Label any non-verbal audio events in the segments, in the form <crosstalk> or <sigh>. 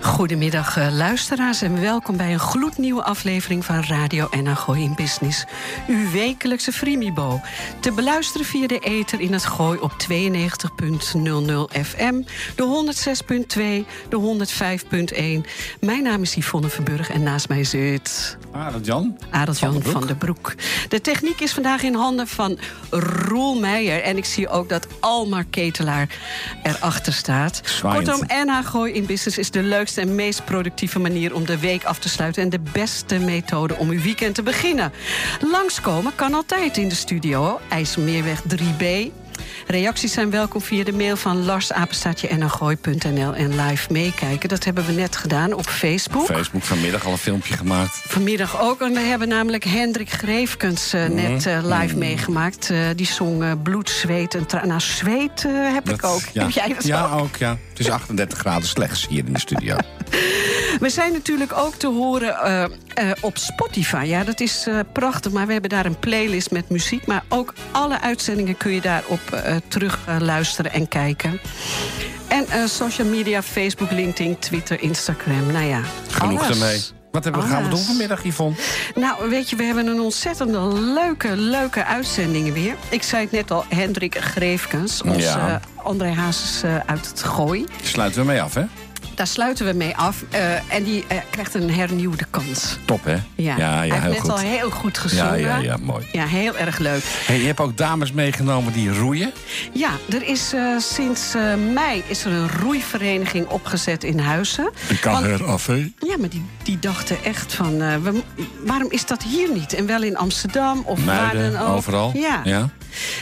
Goedemiddag eh, luisteraars en welkom bij een gloednieuwe aflevering van Radio NH in Business. Uw wekelijkse Frimibo. Te beluisteren via de ether in het Gooi op 92.00 FM, de 106.2, de 105.1. Mijn naam is Yvonne Verburg en naast mij zit... Arend Jan. Arend Jan Van den Broek. van den Broek. De techniek is vandaag in handen van Roel Meijer. En ik zie ook dat Almar Ketelaar erachter staat. Zwaaiend. Kortom, NH Gooi in Business is de leukste en meest productieve manier om de week af te sluiten. En de beste methode om uw weekend te beginnen. Langskomen kan altijd in de studio. IJsselmeerweg 3B. Reacties zijn welkom via de mail van larsapenstaatje.nl en live meekijken. Dat hebben we net gedaan op Facebook. Facebook vanmiddag al een filmpje gemaakt. Vanmiddag ook. En we hebben namelijk Hendrik Greefkens Mhm. eh, net eh, live meegemaakt. Eh, die zong eh, bloed, zweet en tranen. Nou, zweet eh, heb ik ook. ja. Heb jij dat ja, ook? ook, ja. Het is 38 graden slechts hier in de <laughs> studio. We zijn natuurlijk ook te horen eh, eh, op Spotify. Ja, dat is eh, prachtig. Maar we hebben daar een playlist met muziek. Maar ook alle uitzendingen kun je daarop eh terug eh, luisteren en kijken. En eh, social media, Facebook, LinkedIn, Twitter, Instagram. Nou ja, Genoeg alles. ermee. Wat hebben we, gaan we doen Alles. vanmiddag, Yvonne? Nou, weet je, we hebben een ontzettende leuke, leuke uitzending weer. Ik zei het net al, Hendrik Greefkens, onze Ja. eh, André Hazes eh, uit het Gooi. Sluiten we mee af, hè? Daar sluiten we mee af eh, en die eh, krijgt een hernieuwde kans. Top, hè? Ja, ja, hij heeft heel net goed. al heel goed gezongen. ja, ja, ja, mooi. Ja, heel erg leuk. Hey, je hebt ook dames meegenomen die roeien. Ja, er is eh, sinds eh, mei is er een roeivereniging opgezet in Huizen. Want- af, hè? Ja, maar die, die dachten echt van, eh, we- waarom is dat hier niet? En wel in Amsterdam of waar Muiden, dan ook. overal. Ja. ja.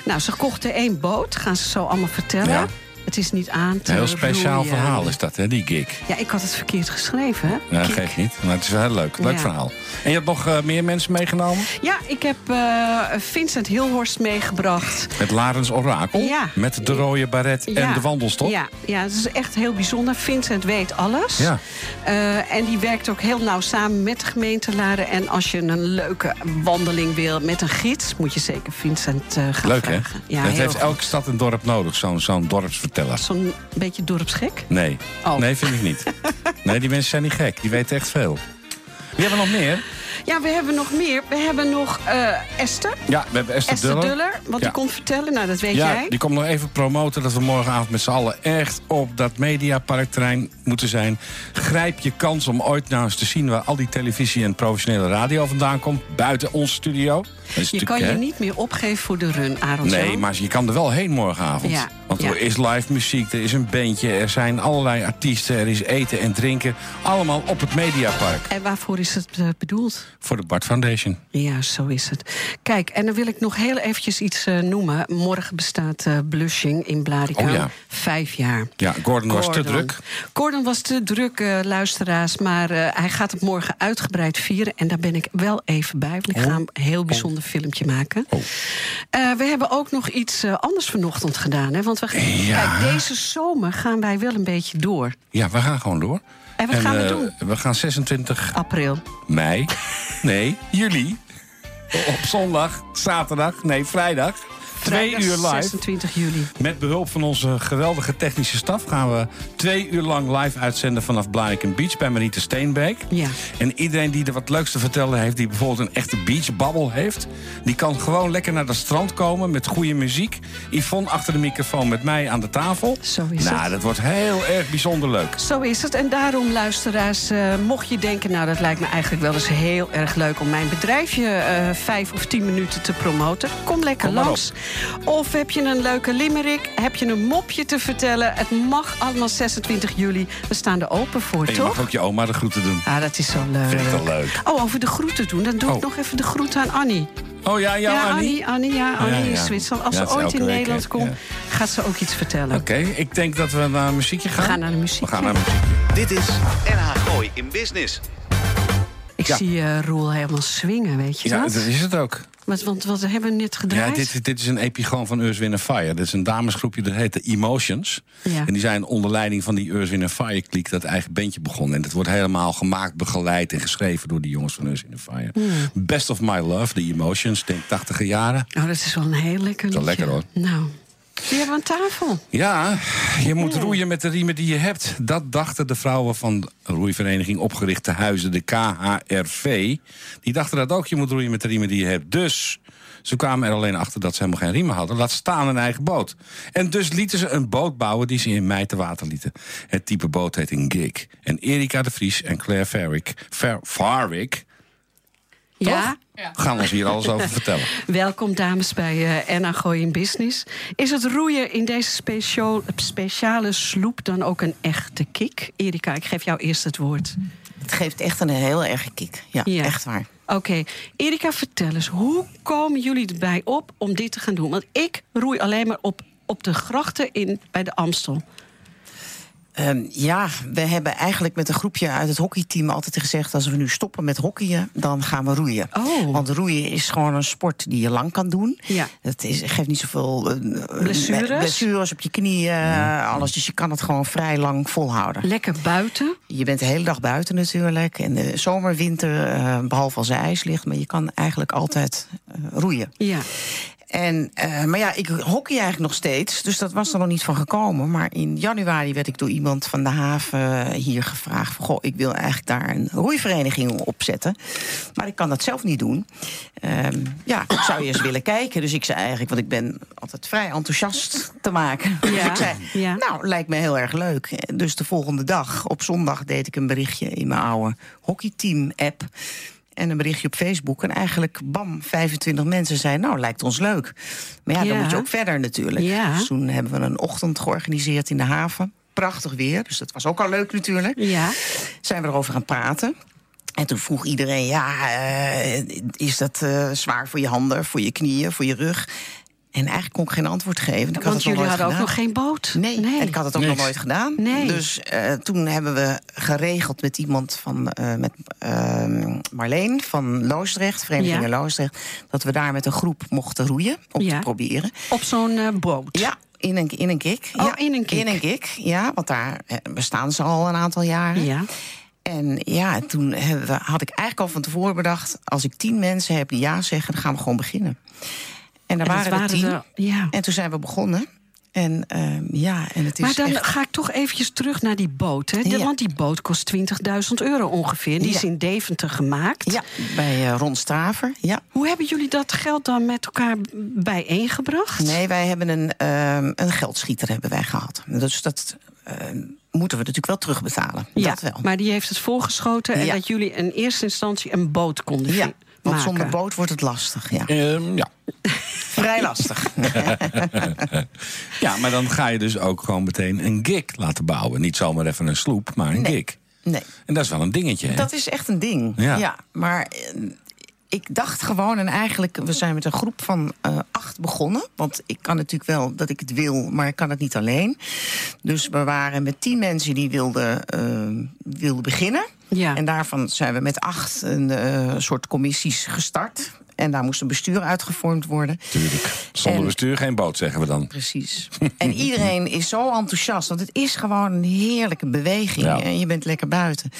Nou, ze kochten één boot, gaan ze zo allemaal vertellen. Ja. Het is niet aan te Een heel speciaal roeien. verhaal is dat, hè, die gig. Ja, ik had het verkeerd geschreven, hè? Ja, Kik. geeft niet. Maar het is wel heel leuk. Leuk Ja. verhaal. En je hebt nog eh, meer mensen meegenomen? Ja, ik heb eh, Vincent Hilhorst meegebracht. Met Larens Orakel. Ja. Met de rode baret en Ja, de wandelstok. Ja, ja, het is echt heel bijzonder. Vincent weet alles. Ja. Eh, en die werkt ook heel nauw samen met de gemeentelaren. En als je een leuke wandeling wil met een gids... moet je zeker Vincent eh, gaan Leuk, hè? vragen. Ja, dat heel heeft goed. elke stad en dorp nodig, zo'n zo'n dorpsverteller. Zo'n beetje dorpsgek. Nee. Oh. Nee, vind ik <laughs> niet. nee, die mensen zijn niet gek. Die weten echt veel. Wie hebben we nog meer? Ja, we hebben nog meer. We hebben nog eh, Esther. Ja, we hebben Esther, Esther Duller, want Ja. die komt vertellen. Nou, dat weet Ja, jij. die komt nog even promoten dat we morgenavond met z'n allen echt op dat mediaparkterrein moeten zijn. Grijp je kans om ooit nou eens te zien waar al die televisie en professionele radio vandaan komt. Buiten ons studio. Dat is Je natuurlijk, kan je hè, niet meer opgeven voor de run, Arendt. Nee, maar je kan er wel heen morgenavond. Ja, Want ja. er is live muziek, er is een bandje, er zijn allerlei artiesten, er is eten en drinken. Allemaal op het Mediapark. En waarvoor is het eh, bedoeld? Voor de Bart Foundation. Ja, zo is het. Kijk, en dan wil ik nog heel eventjes iets eh, noemen. Morgen bestaat eh, Blushing in Blaricum. Oh ja. Vijf jaar. Ja, Gordon, was te Gordon. druk. Gordon was te druk, eh, luisteraars. Maar eh, hij gaat het morgen uitgebreid vieren. En daar ben ik wel even bij. Want ik Oh. ga een heel bijzonder filmpje maken. Eh, we hebben ook nog iets eh, anders vanochtend gedaan. Hè? Want we, Ja. kijk, deze zomer gaan wij wel een beetje door. Ja, we gaan gewoon door. En wat gaan we eh, doen? We gaan 26 April. <laughs> mei. Nee, juli. Op zondag, zaterdag, nee, vrijdag. Twee Vrijdag uur live. 26 juli. Met behulp van onze geweldige technische staf gaan we twee uur lang live uitzenden vanaf Blariken Beach bij Mariette Steenbeek. Ja. En iedereen die er wat leuks te vertellen heeft, die bijvoorbeeld een echte beachbabbel heeft, die kan gewoon lekker naar het strand komen met goede muziek. Yvonne achter de microfoon met mij aan de tafel. Zo is nou, het. dat wordt heel erg bijzonder leuk. Zo is het. En daarom, luisteraars, eh, mocht je denken... nou, dat lijkt me eigenlijk wel eens heel erg leuk... om mijn bedrijfje eh, vijf of tien minuten te promoten. Kom lekker Kom maar langs. Of heb je een leuke limerick? Heb je een mopje te vertellen? Het mag allemaal 26 juli. We staan er open voor, En je toch? mag ook je oma de groeten doen. Ah, dat is zo leuk. Vind ik wel leuk. Oh, over de groeten doen. Dan doe ik Oh. nog even de groeten aan Annie. Oh ja, jou, ja, Annie. Annie, Annie, ja, Annie ja, in ja. Zwitserland. Als Ja, ze dat is ooit in elke week, Nederland hè? komt, Ja. gaat ze ook iets vertellen. Oké, ik denk dat we naar een muziekje gaan. We gaan naar de muziek. We gaan naar een muziekje. Dit is NH Gooi in Business. Ik Ja. zie eh Roel helemaal swingen, weet je Ja, dat? dat is het ook. Want, want wat hebben we net Ja, gedraaid? dit, dit is een epigoon van Earth, Wind Fire. Dit is een damesgroepje, dat heet de Emotions. Ja. En die zijn onder leiding van die Earth, Wind Fire kliek... dat eigen bandje begonnen. En dat wordt helemaal gemaakt, begeleid en geschreven... door die jongens van Earth, Wind Fire. Hmm. Best of My Love, de Emotions, denk 80e jaren. Nou, dat is wel een heel lekker Is liedje. wel lekker, Nou, die hebben we aan tafel. Ja, je moet roeien met de riemen die je hebt. Dat dachten de vrouwen van de roeivereniging opgerichte huizen, de KHRV. Die dachten dat ook, je moet roeien met de riemen die je hebt. Dus ze kwamen er alleen achter dat ze helemaal geen riemen hadden. Laat staan een eigen boot. En dus lieten ze een boot bouwen die ze in mei te water lieten. Het type boot heet een gig. En Erika de Vries en Claire Farwick, Far Farwick Ja, gaan ons hier alles over vertellen. welkom dames bij eh NA Gooi in Business. Is het roeien in deze speciaal- speciale sloep dan ook een echte kick? Erika, ik geef jou eerst het woord. Het geeft echt een heel erge kick. Ja, Ja. echt waar. Oké, Erika, vertel eens, hoe komen jullie erbij op om dit te gaan doen? Want ik roei alleen maar op, op de grachten in, bij de Amstel. Ehm, ja, we hebben eigenlijk met een groepje uit het hockeyteam altijd gezegd... als we nu stoppen met hockeyen, dan gaan we roeien. Oh. Want roeien is gewoon een sport die je lang kan doen. Ja. Het is, geeft niet zoveel eh, Blessures? eh, blessures op je knieën, alles. Dus je kan het gewoon vrij lang volhouden. Lekker buiten. Je bent de hele dag buiten natuurlijk. En de zomer, winter, eh, behalve als er ijs ligt. Maar je kan eigenlijk altijd eh, roeien. Ja, En, eh, maar ja, ik hockey eigenlijk nog steeds. Dus dat was er nog niet van gekomen. Maar in januari werd ik door iemand van de haven hier gevraagd... Van, goh, ik wil eigenlijk daar een roeivereniging opzetten. Maar ik kan dat zelf niet doen. Ehm, ja, ik zou je eens willen kijken. Dus ik zei eigenlijk, want ik ben altijd vrij enthousiast te maken. Dus Ja, <laughs> ik zei, ja. nou, lijkt me heel erg leuk. Dus de volgende dag, op zondag, deed ik een berichtje in mijn oude hockeyteam-app. En een berichtje op Facebook. En eigenlijk, bam, 25 mensen zeiden, nou, lijkt ons leuk. Maar ja, Ja. dan moet je ook verder natuurlijk. Ja. Dus toen hebben we een ochtend georganiseerd in de haven. Prachtig weer, dus dat was ook al leuk natuurlijk ja. zijn we erover gaan praten. En toen vroeg iedereen, ja, eh, is dat eh, zwaar voor je handen, voor je knieën, voor je rug? En eigenlijk kon ik geen antwoord geven. Ik Want had het nog jullie nooit hadden ook gedaan. nog geen boot. Nee, en ik had het ook Niks. nog nooit gedaan. Nee. Dus eh, toen hebben we geregeld met iemand van eh, met, ehm, Marleen van Loosdrecht, Vereniging Ja. Loosdrecht, dat we daar met een groep mochten roeien om Ja. te proberen. Op zo'n eh, boot. Ja, in een, in een kik. Oh, ja, in een kik. In een kik, ja, want daar eh, bestaan ze al een aantal jaren. Ja. En ja, toen hebben we- had ik eigenlijk al van tevoren bedacht... als ik tien mensen heb die ja zeggen, dan gaan we gewoon beginnen. En daar En dat waren, er tien. er- ja. En toen zijn we begonnen. En ehm, ja, en het is Maar dan echt... ga ik toch eventjes terug naar die boot. Hè? De- Ja. Want die boot kost 20.000 euro ongeveer. Die is Ja. in Deventer gemaakt. Ja, bij eh, Ron Straver, ja. Hoe hebben jullie dat geld dan met elkaar bijeengebracht? Nee, wij hebben een, ehm, een geldschieter hebben wij gehad. Dus dat ehm, moeten we natuurlijk wel terugbetalen. Ja, dat wel. maar die heeft het voorgeschoten en Ja. dat jullie in eerste instantie een boot konden ja, vi- want maken. zonder boot wordt het lastig. Ja. Ehm, ja. Vrij lastig. ja, maar dan ga je dus ook gewoon meteen een gig laten bouwen. Niet zomaar even een sloep, maar een gig. Nee. En dat is wel een dingetje. hè? Dat is echt een ding. Ja. Ja. maar eh, ik dacht gewoon, en eigenlijk, we zijn met een groep van eh, acht begonnen. Want ik kan natuurlijk wel dat ik het wil, maar ik kan het niet alleen. Dus we waren met tien mensen die wilden, eh, wilden beginnen. Ja. En daarvan zijn we met acht een eh, soort commissies gestart. En daar moest een bestuur uitgevormd worden. Tuurlijk. Zonder En- bestuur geen boot, zeggen we dan. <laughs> Precies. En iedereen is zo enthousiast, want het is gewoon een heerlijke beweging. Ja. En je bent lekker buiten.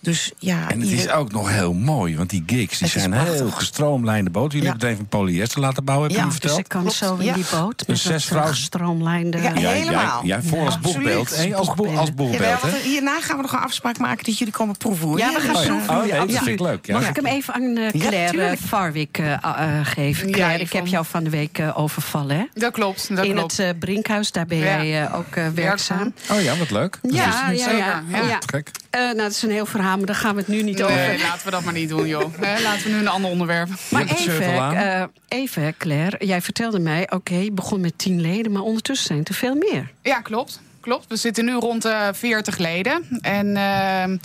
Dus ja, En het is ieder- ook nog heel mooi, want die gigs die Het is zijn prachtig. heel gestroomlijnde boten. Jullie Ja. hebben het even van polyester laten bouwen, heb Ja, je me dus Dus verteld? ik kan Klopt, zo in ja. die boot met Dus dat zes vrouwen- gestroomlijnde... Ja, Jij- helemaal. Jij, jij voor als Ja, boekbeeld. absoluut. Hey, als, boek, als Ja, wij boekbeeld, hè? hadden- hierna gaan we nog een afspraak maken dat jullie komen proeven. hoor. Ja, we gaan Oh ja. proeven. Oh, nee, dat absoluut. vind ik leuk, ja. Mag ik hem even aan eh, Ja, Claire eh, tuurlijk. Farwick eh, a- eh, geven? Ja, Claire, ik ik heb vond- jou van de week eh, overvallen, hè? Dat klopt, dat in klopt. het eh, Brinkhuis, daar ben Ja. jij eh, ook eh, werkzaam. Oh ja, wat leuk. Dat is- Ja, ja, Zeker, ja. ja. ja. Gek. Eh, nou, dat is een heel verhaal, maar daar gaan we het nu niet Nee, over. laten we dat maar niet doen, joh. Hè, laten we nu een ander onderwerp. Maar hebt het even, shirt al aan. eh, even, Claire, jij vertelde mij... oké, je begon met tien leden, maar ondertussen zijn het er veel meer. eh, Ja, klopt. Klopt. We zitten nu rond de 40 leden. En ehm,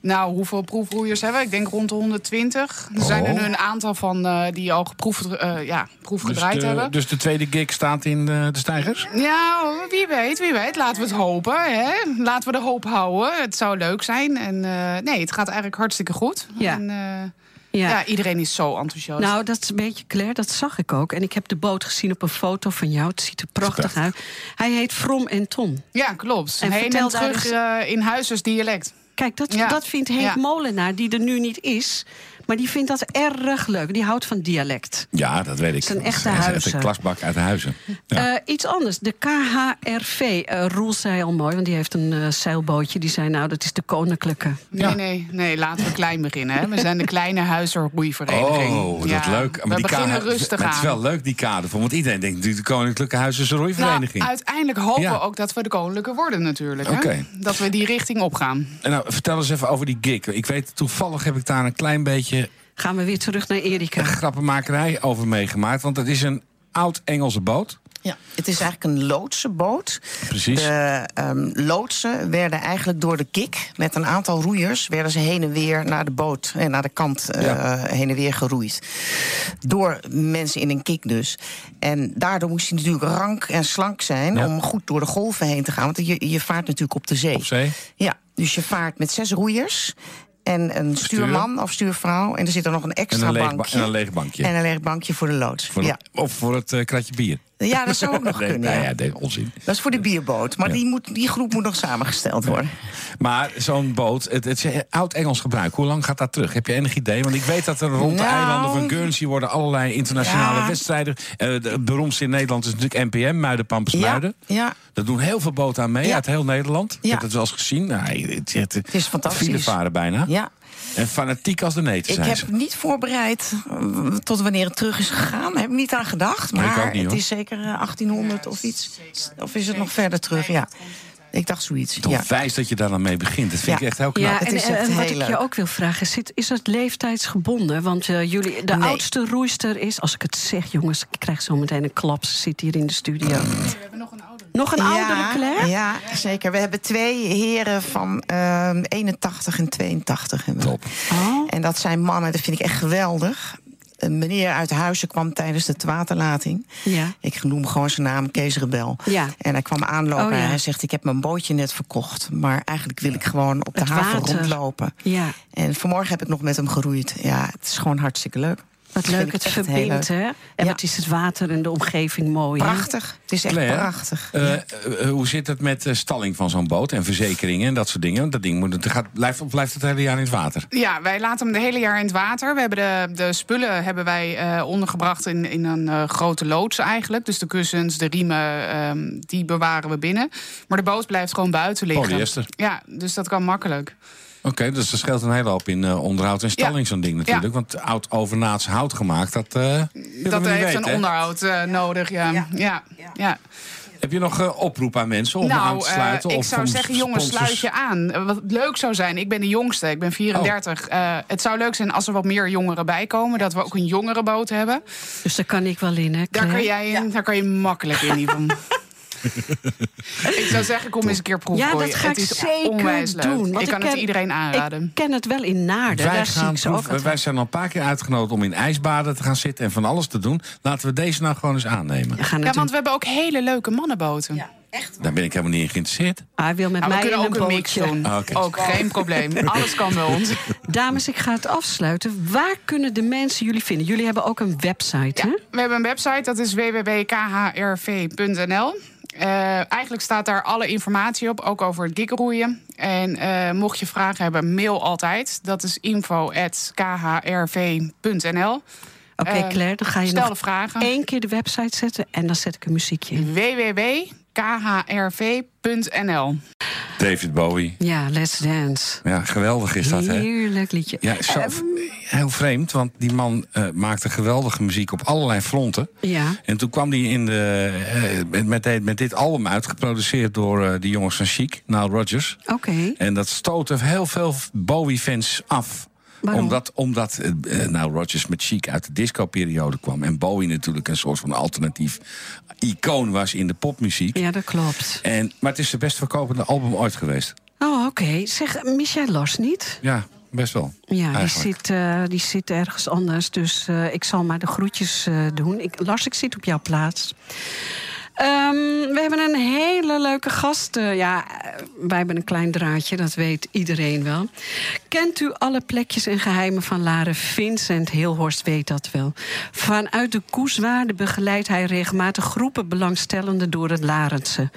Nou, hoeveel proefroeiers hebben we? Ik denk rond de 120. Er zijn er nu een aantal van eh, die al geproefd, eh, ja, Oh. Dus proefgedraaid de, hebben. dus de tweede gig staat in eh, de, de stijgers? Ja, wie weet, wie weet. Laten we het hopen. Hè? Laten we de hoop houden. Het zou leuk zijn. En eh, nee, het gaat eigenlijk hartstikke goed. Ja. En, eh, Ja. ja. iedereen is zo enthousiast. Nou, dat is een beetje Claire, dat zag ik ook. En ik heb de boot gezien op een foto van jou. Het ziet er prachtig uit. Hij heet From en Ton. ja, klopt. En En Heen vertel en daar terug eh, in huizers dialect. Kijk, dat, Ja. dat vindt Henk Ja. Molenaar, die er nu niet is. Maar die vindt dat erg leuk. Die houdt van dialect. Ja, dat weet ik. Het zijn Dat echte is echt huizen. een klasbak uit huizen. Ja. Eh, iets anders, de KHRV. eh Roel zei al mooi, want die heeft een eh, zeilbootje. Die zei, nou, dat is de koninklijke. Nee, Ja. nee, nee, laten we klein beginnen. Hè. We zijn de kleine huizerroeivereniging. Oh, dat Ja, leuk. we beginnen kade- maar rustig aan. Nou, Het is wel leuk, die kade. voor, Want iedereen denkt natuurlijk de Koninklijke Huizen is een roeivereniging. Nou, uiteindelijk hopen Ja. we ook dat we de koninklijke worden natuurlijk. Hè? Oké. Dat we die richting opgaan. En nou, vertel eens even over die gig. Ik weet, toevallig heb ik daar een klein beetje Gaan we weer terug naar Erika. grappenmakerij over meegemaakt. Want het is een oud-Engelse boot. Ja, het is eigenlijk een loodsenboot. Precies. De ehm, loodsen werden eigenlijk door de kik met een aantal roeiers... werden ze heen en weer naar de boot en naar de kant eh, Ja. heen en weer geroeid. Door mensen in een kik dus. En daardoor moest hij natuurlijk rank en slank zijn... Ja. om goed door de golven heen te gaan. Want je, je vaart natuurlijk op de zee. Op zee. Ja, dus je vaart met zes roeiers... En een stuurman of stuurvrouw. En er zit er nog een En extra een, leeg, ba- bankje. en een leeg bankje. En een leeg bankje voor de loods. Voor de- ja. Of voor het eh, kratje bier. ja, <laughs> dat zou ook nog Nee, kunnen. nou ja. ja, nee, onzin. Dat is voor de bierboot. Maar die, moet, die groep moet nog samengesteld worden. Maar zo'n boot, het, het is oud-Engels gebruik. Hoe lang gaat dat terug? Heb je enig idee? Want ik weet dat er rond de Nou. eilanden van Guernsey worden allerlei internationale Ja. wedstrijden. Eh, de het beroemdste in Nederland is natuurlijk NPM, Muiden, Pampers, Muiden. ja. Daar doen heel veel boten aan mee Ja. uit heel Nederland. Ik Ja. heb dat wel eens gezien. Nou, het, het, het is fantastisch. File varen bijna. ja. En fanatiek als de neten Ik zijn heb ze. niet voorbereid eh, tot wanneer het terug is gegaan. Heb ik niet aan gedacht. Maar ook niet, het hoor. is zeker eh, 1800 of iets. Of is het nog verder terug? Ja. Ik dacht zoiets. Toch Ja. wijs dat je daar dan mee begint. Dat vind Ja. ik echt heel knap. Ja, en, het eh, is echt en wat heel ik je leuk. ook wil vragen, is, dit- is het leeftijdsgebonden? Want eh, jullie, de Nee. oudste roeister is, als ik het zeg, jongens, ik krijg zo meteen een klap. Ze zit hier in de studio. We hebben nog een oude. Nog een oudere Claire? Ja, zeker. We hebben twee heren van ehm, 81 en 82. Hebben. we. Top. Oh. En dat zijn mannen, dat vind ik echt geweldig. Een meneer uit Huizen kwam tijdens de waterlating. Ja. Ik noem gewoon zijn naam, Kees Rebel. Ja. En hij kwam aanlopen Oh, ja. en hij zegt... ik heb mijn bootje net verkocht, maar eigenlijk wil ik gewoon op de Het haven water. rondlopen. Ja. En vanmorgen heb ik nog met hem geroeid. Ja, het is gewoon hartstikke leuk. Wat Dat vind leuk, ik het echt heel verbindt, leuk. hè? En Ja. wat is het water en de omgeving mooi, hè? Prachtig, het is echt Claire, prachtig. eh, eh, hoe zit het met eh, stalling van zo'n boot en verzekeringen en dat soort dingen? Want dat ding moet, het gaat, blijft, blijft het hele jaar in het water. Ja, wij laten hem de hele jaar in het water. We hebben de, de spullen hebben wij eh, ondergebracht in, in een eh, grote loods eigenlijk. Dus de kussens, de riemen, ehm, die bewaren we binnen. Maar de boot blijft gewoon buiten liggen. Polyester. Ja, dus dat kan makkelijk. Oké, dus dat scheelt een hele hoop in eh, onderhoud en stalling, Ja. zo'n ding natuurlijk. Ja. Want oud overnaats hout gemaakt, dat. eh, willen we dat niet heeft weten, een hè? onderhoud eh, nodig, ja. Ja. Ja. Heb je nog eh, oproep aan mensen om aan te eh, sluiten? ik of zou om zeggen, jongens, sponsors? sluit je aan. Eh, Wat leuk zou zijn, ik ben de jongste, ik ben Oh. 34. Eh, het zou leuk zijn als er wat meer jongeren bij komen. Dat we ook een jongerenboot hebben. Dus daar kan ik wel in, hè, Daar Claire? kan, jij in, daar kan je makkelijk in, Yvonne. <laughs> ik zou zeggen, kom eens een keer proeven. Ja, hoor. dat ga het ik is zeker onwijs leuk. doen. Ik want kan het iedereen aanraden. Ik ken het wel in Naarden, Wij, daar zie gaan ik ze ook proeven, wij altijd. zijn al een paar keer uitgenodigd om in ijsbaden te gaan zitten en van alles te doen. Laten we deze nou gewoon eens aannemen. We gaan het Ja, doen. want we hebben ook hele leuke mannenboten. Daar ben ik helemaal niet in geïnteresseerd. Hij wil met Nou, mij we in kunnen een ook een mix bootje. doen. Ah, oké. Ook geen <laughs> probleem. Alles kan bij ons. Dames, ik ga het afsluiten. Waar kunnen de mensen jullie vinden? Jullie hebben ook een website, hè? We hebben een website, dat is www.khrv.nl. Eh, eigenlijk staat daar alle informatie op, ook over het gigroeien. En eh, mocht je vragen hebben, mail altijd. Dat is info.khrv.nl. Oké, Eh, Claire, dan ga je stel nog de vragen. Mhm. één keer de website zetten... en dan zet ik een muziekje in. www.khrv.nl. David Bowie. Ja, Let's Dance. Ja, geweldig is dat, hè? Heerlijk liedje. Ja, zo- Ehm. heel vreemd, want die man eh, maakte geweldige muziek op allerlei fronten. Ja. En toen kwam hij in de, eh, met, met, dit- met dit album uit, geproduceerd door eh, de jongens van Chic, Nile Rodgers. Oké. En dat stootte heel veel Bowie-fans af. Waarom? Omdat, omdat eh, eh, nou, Rodgers met Chic uit de disco-periode kwam. En Bowie natuurlijk een soort van alternatief icoon was in de popmuziek. Ja, dat klopt. En, maar het is de best verkopende album ooit geweest. Oké. Oh, oké. Zeg, mis jij Lars niet? Ja, best wel. Ja, die eigenlijk. zit, eh, die zit ergens anders. Dus eh, ik zal maar de groetjes eh, doen. Ik, Lars, ik zit op jouw plaats. Ehm, we hebben een hele leuke gast. Eh, ja, eh, wij hebben een klein draadje, dat weet iedereen wel. Kent u alle plekjes en geheimen van Laren? Vincent Heelhorst weet dat wel. Vanuit de Koeswaarde begeleidt hij regelmatig groepen belangstellenden door het Larentse.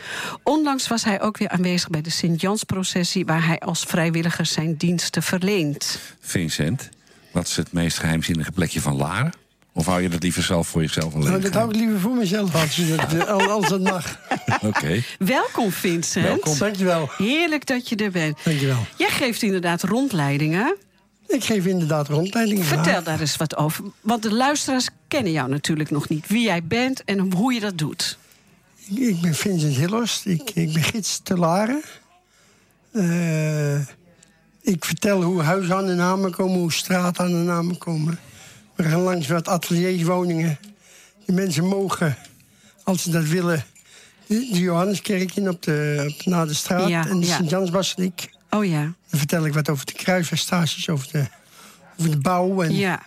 Onlangs was hij ook weer aanwezig bij de Sint-Jansprocessie, waar hij als vrijwilliger zijn diensten verleent. Vincent, wat is het meest geheimzinnige plekje van Laren? Of hou je dat liever zelf voor jezelf alleen? Nou, dat hou ik <laughs> liever voor mezelf, als, je dat, eh, al- als dat mag. Oké. Welkom, Vincent. Dankjewel. Heerlijk dat je er bent. Dankjewel. Jij geeft inderdaad rondleidingen. Ik geef inderdaad rondleidingen. Vertel daar eens wat over. Want de luisteraars kennen jou natuurlijk nog niet. Wie jij bent en hoe je dat doet. Ik, ik ben Vincent Hillers. Ik, ik ben gids te Laren. Eh, ik vertel hoe huizen aan de namen komen, hoe straten aan de namen komen. We gaan langs wat atelierswoningen. De mensen mogen, als ze dat willen, de, de Johanneskerk in op de, op, de- naar de straat Ja, en de ja. Sint-Jansbasiliek. Oh ja. Dan vertel ik wat over de kruisvestaties, over de, over de bouw. En, Ja.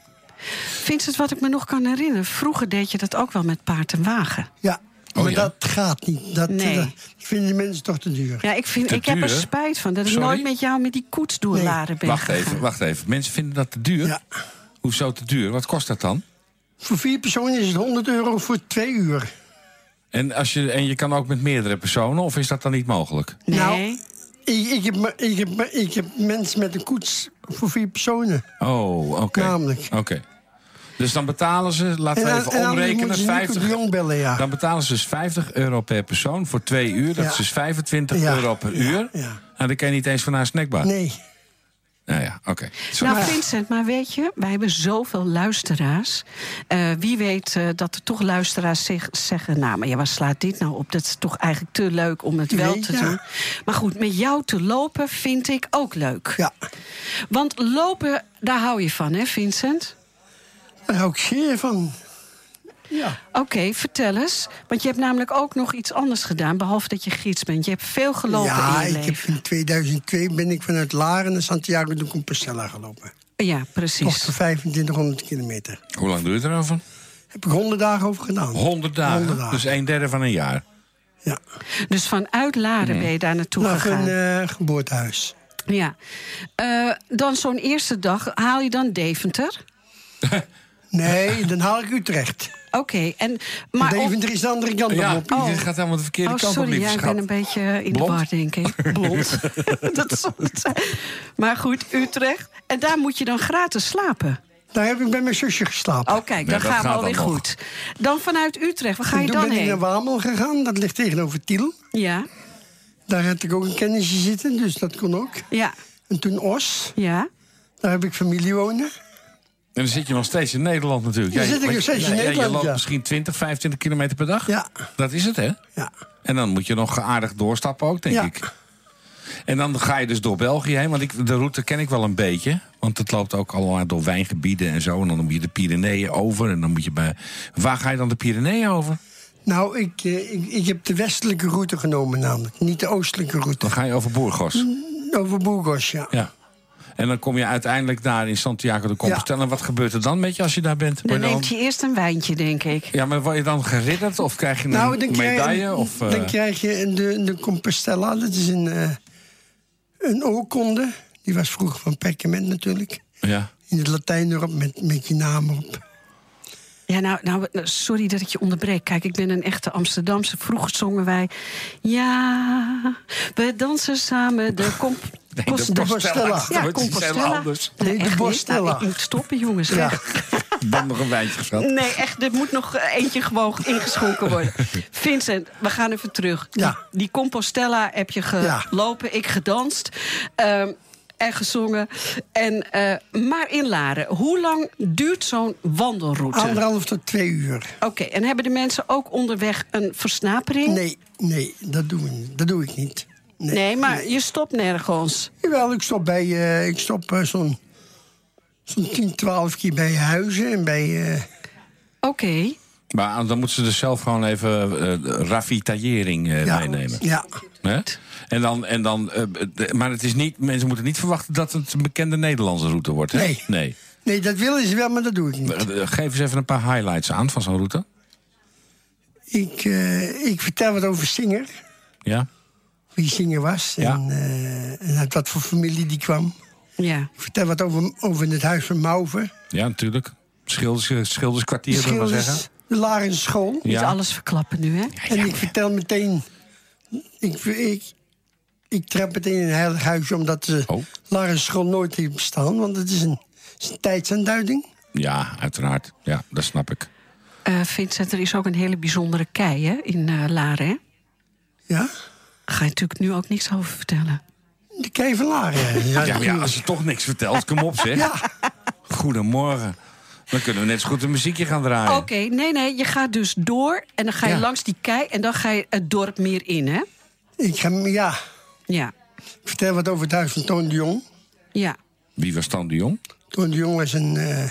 Vincent, wat ik me nog kan herinneren. Vroeger deed je dat ook wel met paard en wagen. Ja, Oh maar ja. dat gaat niet. Dat, eh, Nee. dat vinden de mensen toch te duur. Ja, ik, vind, Te ik heb er duur, hè? spijt van dat ik Sorry? nooit met jou met die koets door Nee. Laren ben Wacht gegaan. even, wacht even. Mensen vinden dat te duur? Ja. Hoezo te duur? Wat kost dat dan? Voor vier personen is het 100 euro voor twee uur. En, als je, en je kan ook met meerdere personen, of is dat dan niet mogelijk? Nee. Nou, Ik, ik, heb, maar- ik, heb, maar- ik heb mensen met een koets voor vier personen. Oh, oké. Namelijk. Oké. Dus dan betalen ze, laten we aan- even anders omrekenen, moeten ze Nico 50... de Jong bellen, ja. Dan betalen ze dus 50 euro per persoon voor twee uur. Dat Ja. is dus 25 Ja. euro per Ja, uur. ja. En dan kan je niet eens van haar snackbar. Nee, Nou ja, oké. Zo. Nou, Vincent, maar weet je, wij hebben zoveel luisteraars. Eh, wie weet eh, dat er toch luisteraars zich zeggen: Nou, maar ja, waar slaat dit nou op? Dat is toch eigenlijk te leuk om het wel Nee, te ja. doen. Maar goed, met jou te lopen vind ik ook leuk. ja. Want lopen, daar hou je van, hè, Vincent? Daar hou ik zeer van. Ja. Oké, vertel eens. Want je hebt namelijk ook nog iets anders gedaan, behalve dat je gids bent. Je hebt veel gelopen in ja, je ik heb leven. in 2002 ben ik vanuit Laren naar Santiago de Compostela gelopen. Ja, Toch precies. voor 2500 kilometer. Hoe lang doe je erover? Heb ik 100 dagen over gedaan. 100 dagen. 100 dagen. Dus een derde van een jaar. Ja. Dus vanuit Laren ben je daar naartoe Naar gegaan. een eh, geboortehuis. Ja. Eh, dan zo'n eerste dag haal je dan Deventer. Nee, dan haal ik Utrecht. Oké, en <laughs> maar. op- Deventer is de andere kant Ja, op. je gaat helemaal de verkeerde Oh, kant op, sorry, lieve jij schat. bent een beetje in Blond? de war, denk <laughs> ik. Blond. <laughs> dat zal het zijn. Maar goed, Utrecht. En daar moet je dan gratis slapen. Daar heb ik bij mijn zusje geslapen. Oh, kijk, Nee, dan dat gaan we gaat alweer dan nog. goed. Dan vanuit Utrecht, waar ga je Toen dan ben ik naar heen? Wamel gegaan, dat ligt tegenover Tiel. Ja, Daar had ik ook een kennisje zitten, dus dat kon ook. ja, En toen Os, ja. daar heb ik familie wonen. En dan zit je nog steeds in Nederland natuurlijk. Dan Ja, je- zit ik nog want- steeds in ja, ja, Je Nederland, loopt ja. misschien 20, 25 kilometer per dag. Ja. Dat is het, hè? Ja. En dan moet je nog aardig doorstappen ook, denk Ja. ik. En dan ga je dus door België heen, want ik, de route ken ik wel een beetje. Want het loopt ook allemaal door wijngebieden en zo. En dan moet je de Pyreneeën over. En dan moet je bij... Waar ga je dan de Pyreneeën over? Nou, ik, eh, ik, ik heb de westelijke route genomen namelijk, niet de oostelijke route. Dan ga je over Burgos. Mm. Over Burgos, ja. Ja. En dan kom je uiteindelijk daar in Santiago de Compostela. En wat gebeurt er dan met je als je daar bent? Dan Word je dan- neemt je eerst een wijntje, denk ik. Ja, maar word je dan geridderd? Of krijg je een Nou, dan krijg, medaille? of, eh, dan krijg je de, de Compostela, dat is een, eh, een oorkonde. Die was vroeger van perkament natuurlijk. ja. In het Latijn erop, met, met je naam erop. Ja, nou, nou, sorry dat ik je onderbreek. Kijk, ik ben een echte Amsterdamse. Vroeger zongen wij... Ja, we dansen samen <laughs> de comp... Kost- de Compostela. Ja, ja, Dat is helemaal Compostela. anders. Nee, de echt niet. Bostella. Nou, ik moet stoppen, jongens. Ja. Echt. Dan nog een wijntje geschat. <laughs> Nee, echt, er moet nog eh, eentje gewoon ingeschonken <laughs> worden. Vincent, we gaan even terug. Ja. Die, die Compostella heb je Ja. gelopen, ik gedanst ehm, en gezongen. En, eh, maar in Laren, hoe lang duurt zo'n wandelroute? Anderhalf tot twee uur. Oké, en hebben de mensen ook onderweg een versnapering? Nee, nee, dat doen we niet. Dat doe ik niet. Nee. Nee, maar je stopt nergens. Jawel, ik stop, bij, eh, ik stop eh, zo'n zo'n 10, 12 keer bij huizen en bij. eh, Oké. Maar dan moeten ze dus zelf gewoon even eh, rafitaillering eh, ja, meenemen. Ja. Hè? En dan, en dan, eh, de- maar het is niet, mensen moeten niet verwachten dat het een bekende Nederlandse route wordt. Hè? Nee. nee. Nee, dat willen ze wel, maar dat doe ik niet. Eh, eh, Geef eens even een paar highlights aan van zo'n route. Ik, eh, ik vertel wat over Singer. Ja? Wie Singer was. Ja. En, eh, en uit wat voor familie die kwam. Ja. Ik vertel wat over, over het huis van Mauver. Ja, natuurlijk. Schilders, eh, schilderskwartier, zullen we maar zeggen. Schilders, de lagere school. Niet Ja. alles verklappen nu, hè? En ik vertel meteen... Ik, ik, ik trap meteen in een heilig huisje... omdat de Oh. lagere school nooit heeft bestaan. Want het is een, het is een tijdsaanduiding. Ja, uiteraard. Ja, dat snap ik. Eh, Vincent, er is ook een hele bijzondere kei hè, in eh, Laren. hè? Ja? Ga je natuurlijk nu ook niks over vertellen. De kei van <laughs> Laren. Ja, maar ja, als je toch niks vertelt, kom op zeg. Ja. Goedemorgen. Dan kunnen we net zo goed een muziekje gaan draaien. Oké, nee, nee, je gaat dus door en dan ga je Ja. langs die kei en dan ga je het dorp meer in, hè? Ik ga, ja, Ja, ik vertel wat over het huis van Toon de Jong. ja. Wie was dan de jong? Toon de Jong was een, eh,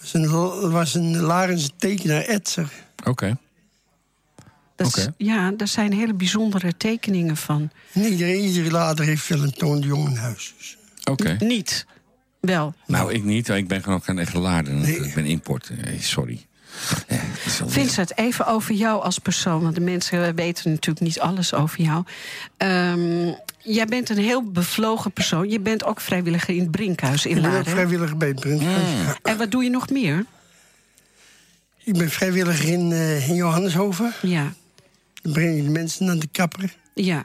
was een, was een Larense tekenaar, etser. Oké. Dat is- Oké. ja, daar zijn hele bijzondere tekeningen van. En iedereen, iedere lader heeft wel een Toon de Jong in huis. Dus Oké. Niet. Wel. Nou, ik niet. Ik ben gewoon ook geen echte lader. Ik ben import. Eh, Sorry. Eh, dat is wel- Vincent, even over jou als persoon. Want de mensen weten natuurlijk niet alles over jou. Ehm, jij bent een heel bevlogen persoon. Je bent ook vrijwilliger in het Brinkhuis in ik ben ook Laren. vrijwilliger bij het Prinshuis. Mm. En wat doe je nog meer? Ik ben vrijwilliger in, eh, in Johanneshoven. Ja, Dan breng ik de mensen naar de kapper. ja.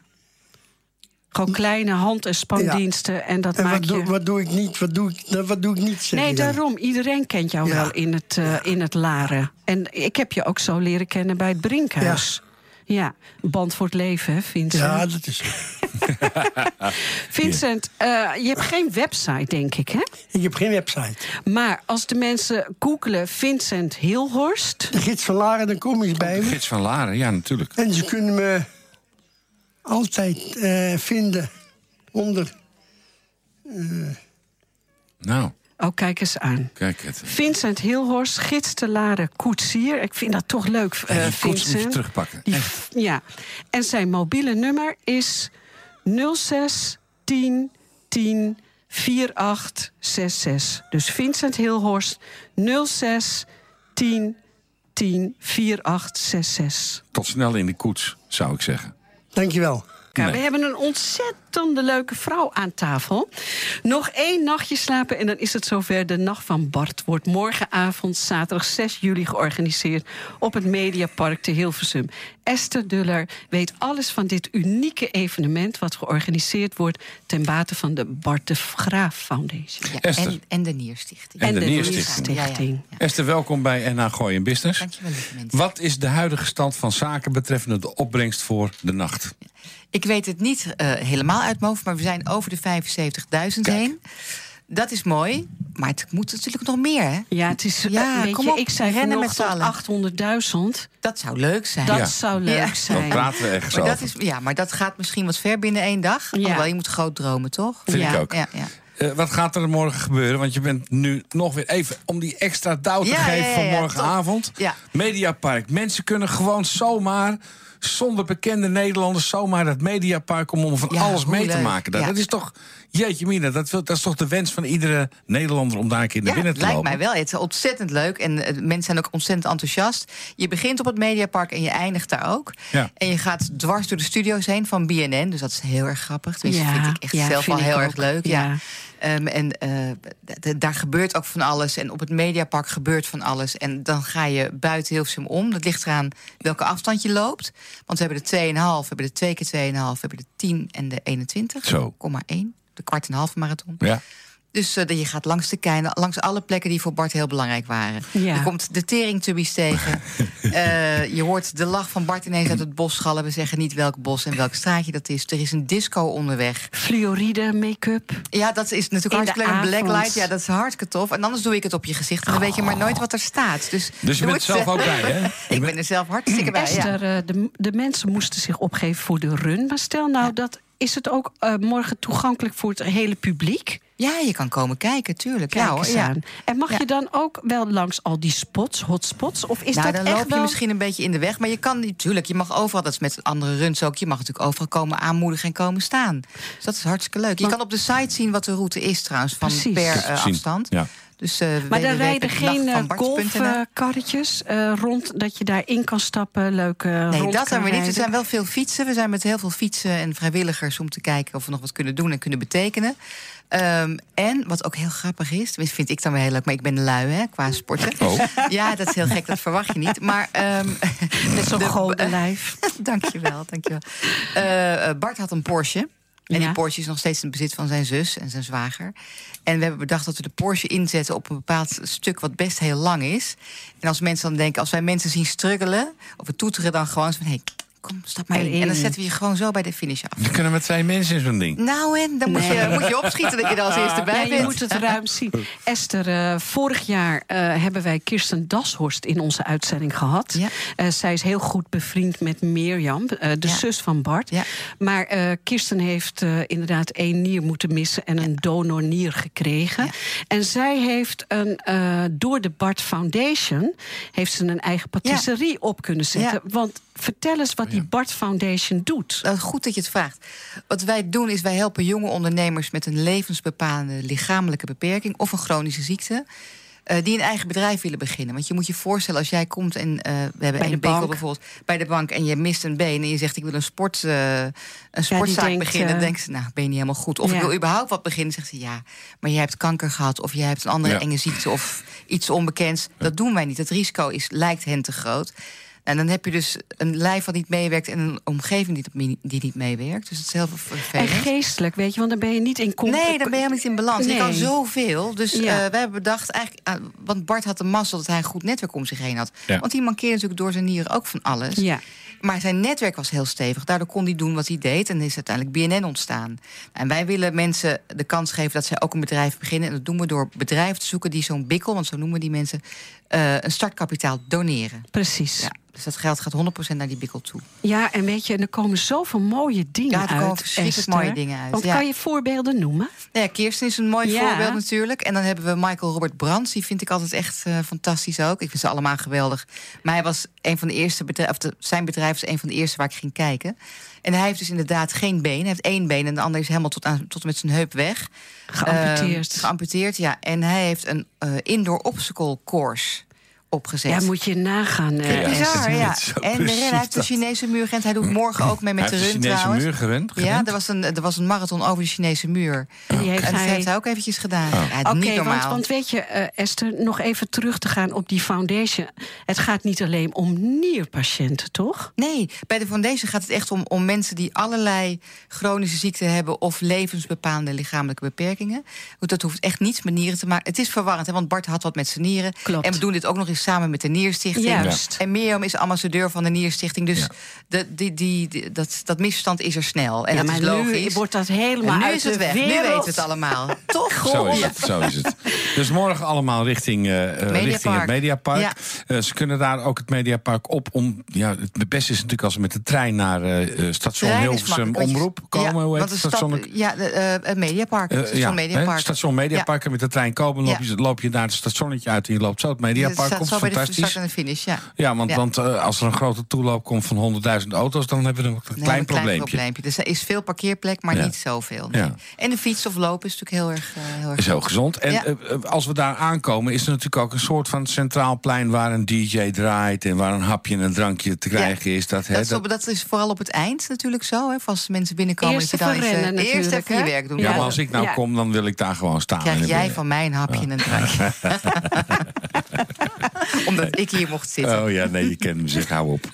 Gewoon kleine hand- en spandiensten. En dat En maak wat, doe- je... wat doe ik niet? Wat doe ik, nou, wat doe ik niet? Zeg Nee, je dan. daarom. Iedereen kent jou Ja. wel in het, eh, in het Laren. En ik heb je ook zo leren kennen bij het Brinkhuis. Ja, band voor het leven, hè, Vincent. Ja, dat is. Vincent, eh, je hebt geen website, denk ik, hè? Ik heb geen website. Maar als de mensen googelen Vincent Hilhorst... De gids van Laren, dan kom ik bij me. Gids van Laren, ja, natuurlijk. En ze kunnen me altijd eh, vinden onder. Nou, Oh, kijk eens aan. kijk het. Vincent Hilhorst, gids te Laren koetsier. Ik vind dat toch leuk, eh En die koets moet je Vincent. terugpakken. Die- ja. En zijn mobiele nummer is 06 10 10 4866. Dus Vincent Hilhorst 06 10 10 4866. Tot snel in de koets, zou ik zeggen. Dankjewel. Kijk, Nee. We hebben een ontzettende leuke vrouw aan tafel. Nog één nachtje slapen en dan is het zover. De Nacht van Bart wordt morgenavond, zaterdag 6 juli, georganiseerd op het Mediapark te Hilversum. Esther Duller weet alles van dit unieke evenement, wat georganiseerd wordt ten bate van de Bart de Graaf Foundation. Ja, Esther. en, en de Nierstichting. En de Nierstichting. Nierstichting. Ja, ja, ja. Esther, welkom bij NH Gooi en Business. Dankjewel, lieve mensen. Wat is de huidige stand van zaken betreffende de opbrengst voor de nacht? Ik weet het niet eh, helemaal uit mijn hoofd, maar we zijn over de 75.000 heen. Dat is mooi, maar het moet natuurlijk nog meer, hè? Ja, het is. eh, Ja, weet kom je, op, ik zei rennen met vanochtend z'n allen. 800.000. Dat zou leuk zijn. Dat Ja. zou leuk Ja. zijn. Dan praten we ergens maar dat over. is, ja, maar dat gaat misschien wat ver binnen één dag. Ja. Alhoewel, je moet groot dromen, toch? Vind ja. ik ook. Ja, ja. Eh, wat gaat er morgen gebeuren? Want je bent nu nog weer even om die extra douw te Ja, geven ja, ja, van ja, morgenavond. top. Ja. Mediapark. Mensen kunnen gewoon zomaar, zonder bekende Nederlanders, zomaar dat Mediapark om, om van Ja, alles hoe mee te leuk. maken. Dat, Ja. dat is toch, jeetje mina, dat, wil- dat is toch de wens van iedere Nederlander om daar een keer naar Ja, binnen te lijkt lopen? mij wel. Het is ontzettend leuk. En eh, mensen zijn ook ontzettend enthousiast. Je begint op het Mediapark en je eindigt daar ook. Ja. En je gaat dwars door de studio's heen van BNN. Dus dat is heel erg grappig. Tenminste, Ja, vind ik echt ja, zelf vind al heel ik erg ook. leuk. Ja. Ja. Ehm, en eh, d- d- daar gebeurt ook van alles. En op het Mediapark gebeurt van alles. En dan ga je buiten Hilversum om. Dat ligt eraan welke afstand je loopt. Want we hebben de 2,5, we hebben de 2 keer 2,5, we hebben de 10 en de 21. Zo. Komma 1, de kwart en halve marathon. Ja. Dus eh, dat je gaat langs de keinen, langs alle plekken die voor Bart heel belangrijk waren. Ja. Je komt de teringtubbies <laughs> tegen. Eh, je hoort de lach van Bart ineens uit het bos schallen. We zeggen niet welk bos en welk straatje dat is. Er is een disco onderweg. Fluoride make-up. Ja, dat is natuurlijk In de hartstikke leuk. Een avond. blacklight, ja, dat is hartstikke tof. En anders doe ik het op je gezicht. En dan weet je maar nooit wat er staat. Dus, Dus je doe bent het. zelf ook bij, <laughs> hè? Dus ik ben er zelf hartstikke bij, ja. Esther, eh, de, de mensen moesten zich opgeven voor de run. Maar stel nou, dat is het ook eh, morgen toegankelijk voor het hele publiek? Ja, je kan komen kijken, tuurlijk. Kijk ja, hoor, eens Nou, ja. aan. En mag Ja. je dan ook wel langs al die spots, hotspots? Of is nou, dat dan echt loop je wel- misschien een beetje in de weg. Maar je kan natuurlijk, je mag overal, dat is met andere runs ook... je mag natuurlijk overal komen aanmoedigen en komen staan. Dus dat is hartstikke leuk. Je Maar- kan op de site zien wat de route is trouwens, van Precies. per Ik heb het eh, gezien, afstand. ja. Dus, eh, Maar daar rijden geen eh, www.nachtvanbart.nl. golfkarretjes eh, rond, dat je daarin kan stappen, leuke Nee, dat hebben we niet. Er zijn wel veel fietsen. We zijn met heel veel fietsen en vrijwilligers om te kijken of we nog wat kunnen doen en kunnen betekenen. Ehm, en wat ook heel grappig is, tenminste vind ik dan wel heel leuk, maar ik ben lui hè, qua sporten. Oh. Ja, dat is heel gek, dat verwacht je niet. Maar ehm <laughs> Met zo'n de- <laughs> gouden lijf. dankjewel, dankjewel. Eh, eh, Bart had een Porsche. En Ja. die Porsche is nog steeds in bezit van zijn zus en zijn zwager. En we hebben bedacht dat we de Porsche inzetten op een bepaald stuk wat best heel lang is. En als mensen dan denken, als wij mensen zien struggelen, of we toeteren dan gewoon zo van hé, kom, stap maar in. Erin. En dan zetten we je gewoon zo bij de finish af. Dan kunnen we twee mensen in zo'n ding. Nou en dan moet, je, moet je opschieten dat je er als eerste bij Ja, bent. je moet het ruim zien. Esther, eh, vorig jaar eh, hebben wij Kirsten Dashorst in onze uitzending gehad. Ja. Eh, zij is heel goed bevriend met Mirjam, eh, de Ja. zus van Bart. Ja. Maar eh, Kirsten heeft eh, inderdaad één nier moeten missen en een donornier gekregen. Ja. En zij heeft een, eh, door de Bart Foundation heeft ze een eigen patisserie op kunnen zetten. Want vertel eens wat die Bart Foundation doet. Nou, goed dat je het vraagt. Wat wij doen is wij helpen jonge ondernemers met een levensbepalende lichamelijke beperking of een chronische ziekte. eh, die een eigen bedrijf willen beginnen. Want je moet je voorstellen, als jij komt en eh, we hebben de een bekel bank. bijvoorbeeld bij de bank en je mist een been en je zegt ik wil een, sport, eh, een sportzaak denkt, beginnen. eh, Dan denkt ze, nou ben je niet helemaal goed. Of Ja. ik wil überhaupt wat beginnen. zegt ze ja, maar jij hebt kanker gehad of jij hebt een andere Ja. enge ziekte of iets onbekends. Dat doen wij niet. Het risico is, lijkt hen te groot. En dan heb je dus een lijf wat niet meewerkt en een omgeving die, dat mi- die niet meewerkt. Dus het is heel En vervelend. geestelijk, weet je, want dan ben je niet in contact. Nee, dan ben je helemaal niet in balans. Nee. Je kan zoveel. Dus Ja. eh, wij hebben bedacht, eigenlijk, ah, want Bart had de mazzel dat hij een goed netwerk om zich heen had. Ja. Want die mankeerde natuurlijk door zijn nieren ook van alles. Ja. Maar zijn netwerk was heel stevig. Daardoor kon hij doen wat hij deed. En is uiteindelijk BNN ontstaan. En wij willen mensen de kans geven dat zij ook een bedrijf beginnen. En dat doen we door bedrijven te zoeken die zo'n bikkel, want zo noemen we die mensen, eh, een startkapitaal doneren. Precies. Ja. Dus dat geld gaat 100% naar die bikkel toe. Ja, en weet je, en er komen zoveel mooie dingen Ja, er uit. komen verschrikkelijk Esther. mooie dingen uit, Want ja. kan je voorbeelden noemen? Nou ja, Kirsten is een mooi Ja. voorbeeld natuurlijk. En dan hebben we Michael Robert Brands. Die vind ik altijd echt eh, fantastisch ook. Ik vind ze allemaal geweldig. Maar hij was een van de eerste bedrijven... of de- zijn bedrijf was een van de eerste waar ik ging kijken. En hij heeft dus inderdaad geen been. Hij heeft één been en de ander is helemaal tot, aan, tot en met zijn heup weg. Geamputeerd. Eh, geamputeerd, ja. En hij heeft een eh, indoor obstacle course opgezet. Ja, moet je nagaan. eh, Ja, Esther. Bizar, ja. dat is zo En de precies hij heeft de dat. Chinese muur gerend. Hij doet morgen ook mee met Hij de heeft run de Chinese trouwens. muur gerend- Ja, gerend? er was, een, er was een marathon over de Chinese muur. En die heeft en dat hij- heeft hij ook eventjes gedaan. Ja, Oké, niet normaal. want, want weet je, eh, Esther, nog even terug te gaan op die foundation. Het gaat niet alleen om nierpatiënten, toch? Nee, bij de Foundation gaat het echt om, om mensen die allerlei chronische ziekten hebben of levensbepalende lichamelijke beperkingen. Goed, Dat hoeft echt niets met nieren te maken. Het is verwarrend, hè, want Bart had wat met zijn nieren. Klopt. En we doen dit ook nog eens samen met de Nierstichting. Juist. Ja. En Mirjam is ambassadeur van de Nierstichting. Dus de, die, die, die- dat, dat misverstand is er snel. En ja, dat maar is logisch. nu wordt dat helemaal en nu uit is het de weg. Nu wereld. weten we het <laughs> allemaal. Toch? Zo is, het, zo is het. Dus morgen allemaal richting, eh, eh, Mediapark. richting het Mediapark. Ja. Eh, ze kunnen daar ook het Mediapark op om... Ja, het beste is natuurlijk als ze met de trein naar eh, eh, station Trein is Hilversum makkelijk, want je- Omroep komen. Ja, hoe heet want het? de stap- Station, ja, de, eh, het Mediapark. eh, station ja, Mediapark. hè, station Mediapark. En met de trein komen, loop je, Ja. loop je naar het stationnetje uit... en je loopt zo het Ja, Mediapark staat op. zo bij de start Fantastisch. en de finish, ja. Ja, want, Ja. want eh, als er een grote toeloop komt van 100.000 auto's... dan hebben we nog een Nee, klein een probleempje. Dus er is veel parkeerplek, maar Ja. niet zoveel. nee. Ja. En de fiets of lopen is natuurlijk heel erg... eh, heel erg Is heel gezond. En Ja. eh, eh, als we daar aankomen, is er natuurlijk ook een soort van centraal plein waar een DJ draait en waar een hapje en een drankje te krijgen is. Dat, hè, dat, is dat- op- dat is vooral op het eind natuurlijk zo. Hè, of als mensen binnenkomen, Eerst dat je dan even eens, eh, rennen eerst natuurlijk, even je hè? werk doen. ja, Ja, maar dan als ik nou ja. kom, dan wil ik daar gewoon staan. En krijg dan jij ben- van mij een hapje en een drankje. <laughs> Omdat ik hier mocht zitten. Oh ja, nee, je kent me, zeg, hou <laughs> op.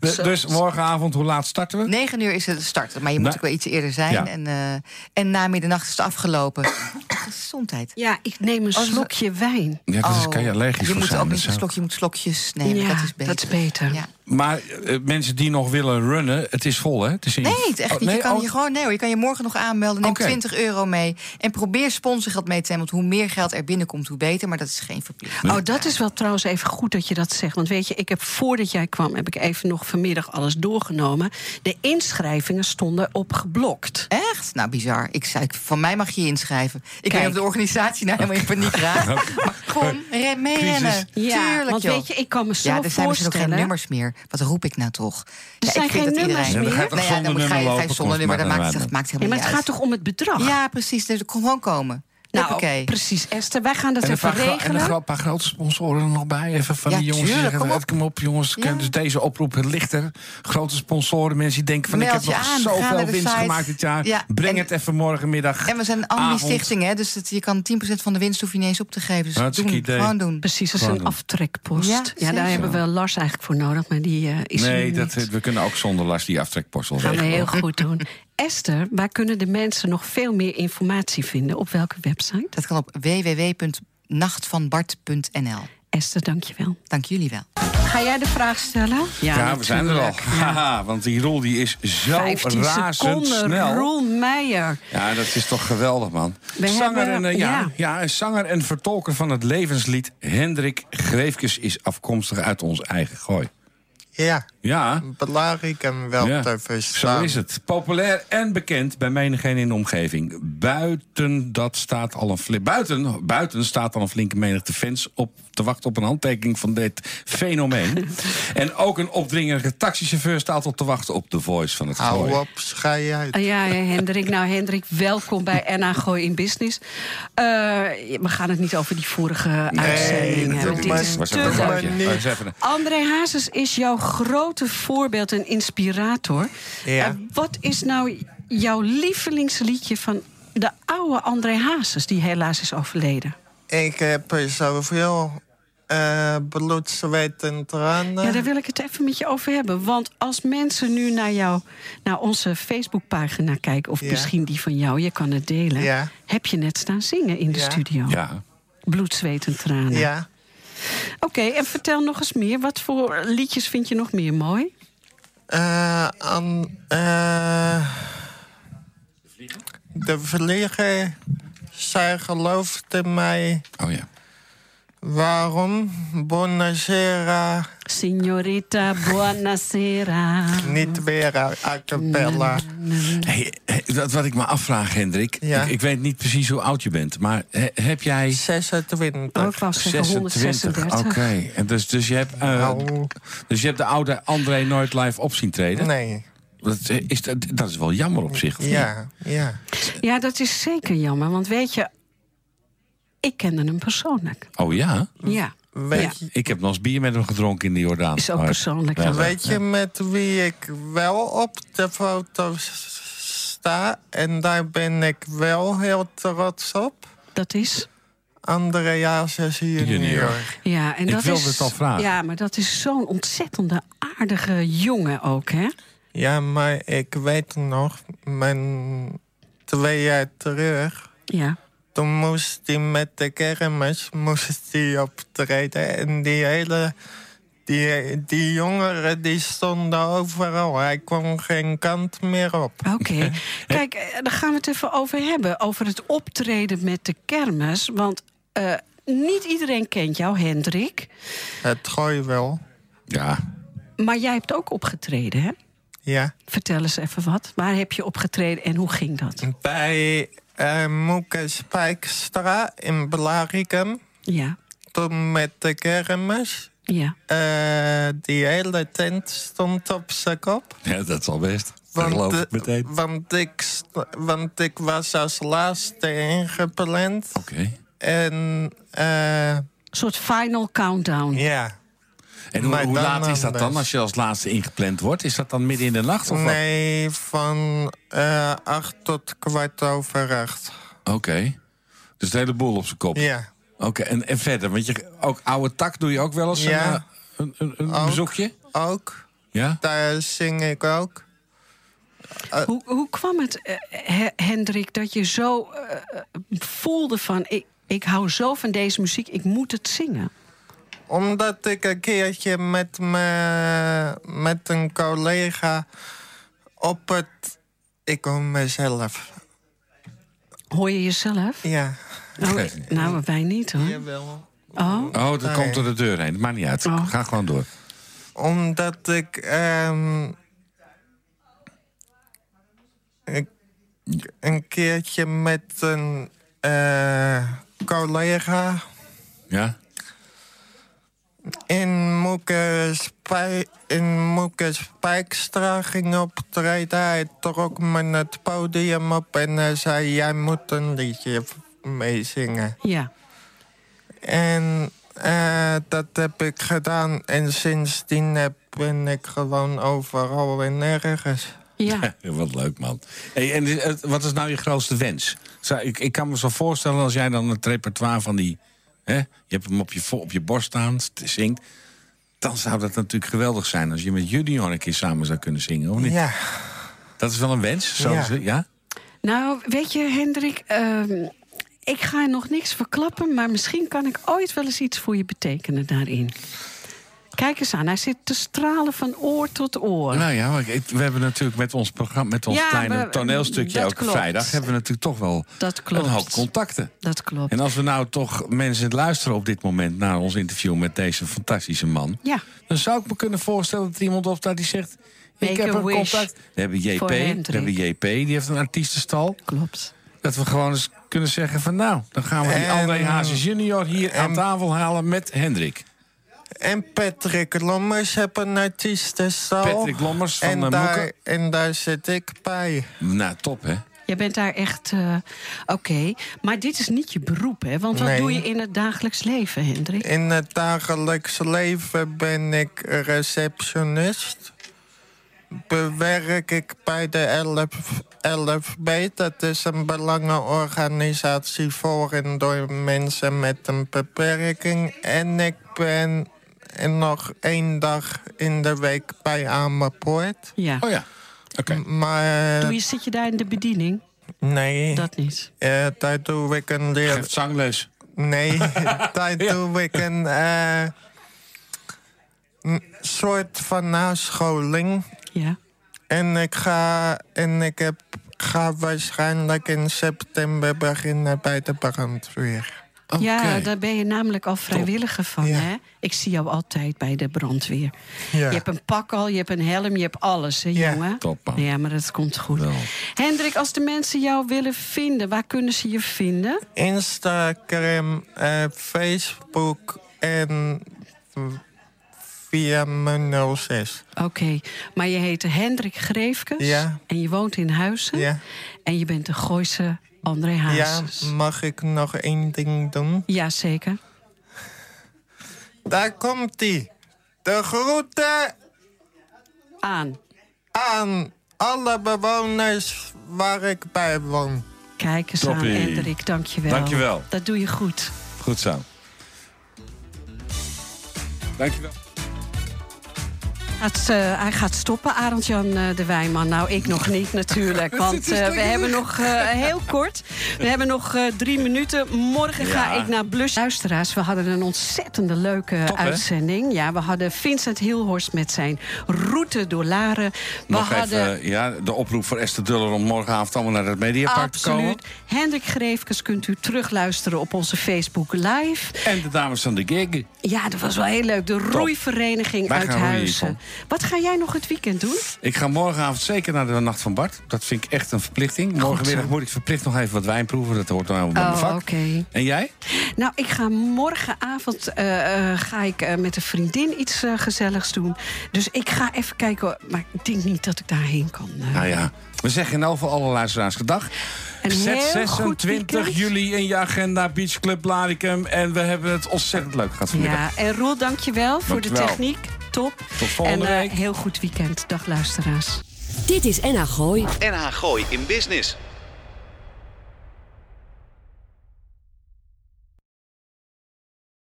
Dus- dus morgenavond, hoe laat starten we? 9 uur is het start, maar je moet Nou, ook wel iets eerder zijn. ja. En, eh, en na middernacht is het afgelopen. <coughs> Gezondheid. Ja, ik neem een Als we- slokje wijn. Ja, dat is, Oh, kan je allergisch je voor moet zijn. ook dat niet is een ook- slokje, je moet slokjes nemen. Ja, dat is beter. dat is beter. Ja. Maar eh, mensen die nog willen runnen, het is vol, hè? Het is in- Nee, het is echt Oh, niet. je, kan oh, je, gewoon, nee, hoor, je kan je morgen nog aanmelden. Neem Oké. 20 euro mee. En probeer sponsorgeld mee te nemen. Want hoe meer geld er binnenkomt, hoe beter. Maar dat is geen verplichting. Oh, dat is wel trouwens even goed dat je dat zegt. Want weet je, ik heb voordat jij kwam, heb ik even nog vanmiddag alles doorgenomen. De inschrijvingen stonden op geblokt. Echt? Nou, bizar. Ik zei, ik- van mij mag je je inschrijven. Ik weet Kijk. niet of de organisatie nou helemaal in paniek raakt. <laughs> Maar gewoon re- meerennen. Crisis. Ja, Tuurlijk, want joh. weet je, ik kan me zo Ja, er zijn misschien ook geen voorstellen- nummers meer. Wat roep ik nou toch? Er zijn geen nummers Ja, dan meer? ga je toch nou ja, dan zonder moet- ga je, nummer ga je lopen, zonder kom, nummer. Dat maar maakt, dan- dat maakt Ja, helemaal maar het niet gaat toch om het bedrag? uit. Ja, precies. Dus kon gewoon komen. nou, Hoppakee. precies, Esther. Wij gaan dat En een, even paar, gro- en een regelen. gro- paar grote sponsoren er nog bij. Even van Ja, die jongens. die tuurlijk, zeggen, kom op. kom op, jongens. Ja. Dus deze oproep ligt er. Grote sponsoren, mensen die denken van Meld ik je heb nog aan, ga naar zoveel de winst site. gemaakt dit jaar. Ja, Breng en- het even morgenmiddag. En we zijn een Nou, avond. anonistichting, hè? Dus het- je kan 10% van de winst hoef je niet eens op te geven. Dus Hartstikke doen, idee. gewoon doen. Precies, dat is Gewoon een doen. aftrekpost. Ja, Ja, daar zeker. hebben we Lars eigenlijk voor nodig, maar die eh, is er Nee, nu dat, niet. we kunnen ook zonder last die aftrekpostel gaan we regelen. heel goed <laughs> doen. Esther, waar kunnen de mensen nog veel meer informatie vinden? Op welke website? Dat kan op www.nachtvanbart.nl. Esther, dankjewel. Dank jullie wel. Ga jij de vraag stellen? Ja, we zijn er <laughs> al. Haha, want die rol die is zo 15 seconden, razendsnel. Roel Meijer. Ja, dat is toch geweldig, man. We zanger, hebben- en, eh, ja, ja. ja. een zanger en vertolker van het levenslied Hendrik Greefkes is afkomstig uit ons eigen gooi. Ja, Ja, belangrijk ik hem wel te verstaan. zo is het. Populair en bekend bij menigeen in de omgeving. Buiten, dat staat al een fli- buiten, buiten staat al een flinke menigte fans op te wachten op een handtekening van dit <laughs> fenomeen. en ook een opdringerige taxichauffeur staat al te wachten op de voice van het gooi. Hou op, schei uit. Ah, Ja, ja, Hendrik. Nou, Hendrik, welkom bij NA Gooi in Business. Eh, we gaan het niet over die vorige uitzending doe hebben. Dit maar is niet. Was te even een Tuurlijk. leuk. grapje. Nee. Was even een- André Hazes is jouw grote voorbeeld en inspirator. Ja. Eh, wat is nou jouw lievelingsliedje van de oude André Hazes... die helaas is overleden? Ik heb er zoveel eh bloed, zweet en tranen. Ja, daar wil ik het even met je over hebben. Want als mensen nu naar, jou, naar onze Facebookpagina kijken... of Ja. misschien die van jou, je kan het delen... Ja. heb je net staan zingen in de Ja. studio. Ja. Bloed, zweet en tranen. Ja, Oké, en vertel nog eens meer. Wat voor liedjes vind je nog meer mooi? eh, aan, eh, de vlieger, zij geloofde mij. Oh ja. Waarom? Bonacera, Signorita Buonasera. niet weer a, a cappella. Hey, hey, dat wat ik me afvraag, Hendrik. Ja. Ik, ik weet niet precies hoe oud je bent, maar he- heb jij 26. Oh, ik wou zeggen 26? 136. Oké. En Dus, dus, je hebt, eh, Nou, dus je hebt de oude André nooit live op zien treden? nee. Dat is, dat, dat is wel jammer op zich. of niet? Ja, ja. Ja, dat is zeker jammer. Want weet je, ik kende hem persoonlijk. Oh ja? Ja, Hm. Weet, je, Ik heb nog eens bier met hem gedronken in de Jordaan. is ook Maar- persoonlijk. Ja. dan. weet je met wie ik wel op de foto s- sta? En daar ben ik wel heel trots op. Dat is... Andreas is Junior. junior. Ja, en Ik dat wilde is, het al vragen. Ja, maar dat is zo'n ontzettende aardige jongen ook, hè? Ja, maar ik weet nog, mijn twee jaar terug... Ja. toen moest hij met de kermis moest die optreden. En die hele... Die, die jongeren die stonden overal. Hij kwam geen kant meer op. Oké. Kijk, eh, daar gaan we het even over hebben. Over het optreden met de kermis. Want eh, niet iedereen kent jou, Hendrik. Het gooi wel. Ja. <laughs> Maar jij hebt ook opgetreden, hè? Ja. Vertel eens even wat. Waar heb je opgetreden en hoe ging dat? Bij eh Moeke Spijkstra in Blaricum. Ja, Toen met de kermis. ja. eh, die hele tent stond op zijn kop. ja, dat is al best. Dat Want, geloof eh, ik meteen. Oké. want, ik, st- want ik was als laatste ingepland. En eh, Een soort final countdown. ja, En hoe, Maar hoe dan laat is dat dan anders. als je als laatste ingepland wordt? Is dat dan midden in de nacht of nee, van eh, acht tot kwart over acht. wat? Oké. Dus de hele boel op zijn kop. Ja, Oké, en, en verder, want je, ook oude tak doe je ook wel eens een, Ja. eh, een, een, een Ook. bezoekje? ook. Ja? Daar zing ik ook. Hoe, hoe kwam het, eh, He- Hendrik, dat je zo eh, eh, voelde van... Ik, ik hou zo van deze muziek, ik moet het zingen. Omdat ik een keertje met, me, met een collega op het... Ik hoor mezelf. Hoor je jezelf? Ja. Oh, nou, wij niet hoor. Jawel. Oh. Oh, dat Nee. komt door de deur heen. Maakt niet uit. Oh. Ga gewoon door. Omdat ik... ehm, een, een keertje met een eh, collega Ja? in Moeke, Spij in Moeke Spijkstra ging optreden. Hij trok me het podium op en hij zei... jij moet een liedje v- meezingen. Ja. En eh, dat heb ik gedaan. En sindsdien heb- ben ik gewoon overal en ergens. <laughs> Ja. Wat leuk, man. Hey, en eh, wat is nou je grootste wens? Zou- ik, ik kan me zo voorstellen als jij dan het repertoire van die... Hè, je hebt hem op je, vo- op je borst staan, st- zingt. Dan zou dat natuurlijk geweldig zijn als je met Junior een keer samen zou kunnen zingen, of niet? Ja, Dat is wel een wens? Zo Ja. is het, ja? Nou, weet je, Hendrik, ehm, ik ga nog niks verklappen, maar misschien kan ik ooit wel eens iets voor je betekenen daarin. Kijk eens aan, hij zit te stralen van oor tot oor. Nou ja, maar ik- we hebben natuurlijk met ons programma, met ons Ja, kleine we- toneelstukje dat elke klopt. vrijdag, hebben we natuurlijk toch wel Dat klopt. een hoop contacten. Dat klopt. En als we nou toch mensen luisteren op dit moment naar ons interview met deze fantastische man, Ja, dan zou ik me kunnen voorstellen dat iemand opstaat die zegt: Ik Make heb a een wish contact. We hebben JP, voor we Hendrik. hebben JP, die heeft een artiestenstal. klopt. Dat we gewoon eens kunnen zeggen: van nou, dan gaan we die En- eh, André Hazes junior hier aan en- tafel halen met Hendrik. en Patrick Lommers heb een artiestenstal. Patrick Lommers van en eh, daar, Moeken. en daar zit ik bij. Nou, top hè. Jij bent daar echt. eh, Oké, maar dit is niet je beroep, hè? Want wat Nee. doe je in het dagelijks leven, Hendrik? In het dagelijks leven ben ik receptionist. Bewerk ik bij de 11, 11B. Dat is een belangenorganisatie voor en door mensen met een beperking. En ik ben nog één dag in de week bij Amerpoort. Ja. Oh ja. Oké. Maar Doe je, zit je daar in de bediening? Eh, nee, Dat niet. eh, daar doe ik een leer, Geeft zangles. Nee, daar doe ik een eh, een soort van nascholing. Ja. En ik ga, en ik heb, ga waarschijnlijk in september beginnen bij de brandweer. Oké. Ja, daar ben je namelijk al vrijwilliger van, Ja. hè? Ik zie jou altijd bij de brandweer. Ja. Je hebt een pak al, je hebt een helm, je hebt alles, hè, Ja. jongen? Top, man. Ja, maar dat komt goed. Wel. Hendrik, als de mensen jou willen vinden, waar kunnen ze je vinden? Instagram, eh, Facebook en v- via mijn 06. Oké, maar je heet Hendrik Greefkes Ja. en je woont in Huizen. Ja. En je bent de Gooise André Ja, Hazes. mag ik nog één ding doen? Ja, zeker. Daar komt ie. De groeten Aan. aan alle bewoners waar ik bij woon. Kijk eens aan, Toppie. Hendrik. Dankjewel. Dankjewel. Dat doe je goed. Goed zo. Dankjewel. Gaat, eh, hij gaat stoppen, Arend-Jan eh, de Wijman. Nou, ik nog niet <laughs> natuurlijk, want eh, we hebben nog eh, heel kort. We hebben nog eh, drie minuten. Morgen ga Ja. ik naar Blush. Luisteraars, we hadden een ontzettende leuke Top, hè? uitzending. Ja, we hadden Vincent Hilhorst met zijn route door Laren. We Nog hadden even eh, ja, de oproep voor Esther Duller om morgenavond allemaal naar het Mediapark te komen. absoluut Hendrik Greefkes kunt u terugluisteren op onze Facebook Live. En de dames van de gig. Ja, dat was wel heel leuk. De roeivereniging Wij uit gaan roeien, Huizen. Wat ga jij nog het weekend doen? Ik ga morgenavond zeker naar de Nacht van Bart. Dat vind ik echt een verplichting. Morgenmiddag moet ik verplicht nog even wat wijn proeven. Dat hoort dan helemaal bij mijn Oh, vak. oké. En jij? Nou, ik ga morgenavond eh, eh, ga ik, eh, met een vriendin iets eh, gezelligs doen. Dus ik ga even kijken. Maar ik denk niet dat ik daarheen kan. eh. Nou ja, we zeggen in elk geval alle luisteraars gedag. Een Zet heel goed 26 weekend. juli in je agenda Beach Club Blaricum. En we hebben het ontzettend leuk gehad vanmiddag. ja, en Roel, dankjewel voor de Dankjewel. techniek. Top. Tot volgende en eh, week. heel goed weekend. Dag luisteraars. Dit is NH Gooi. NH Gooi in Business.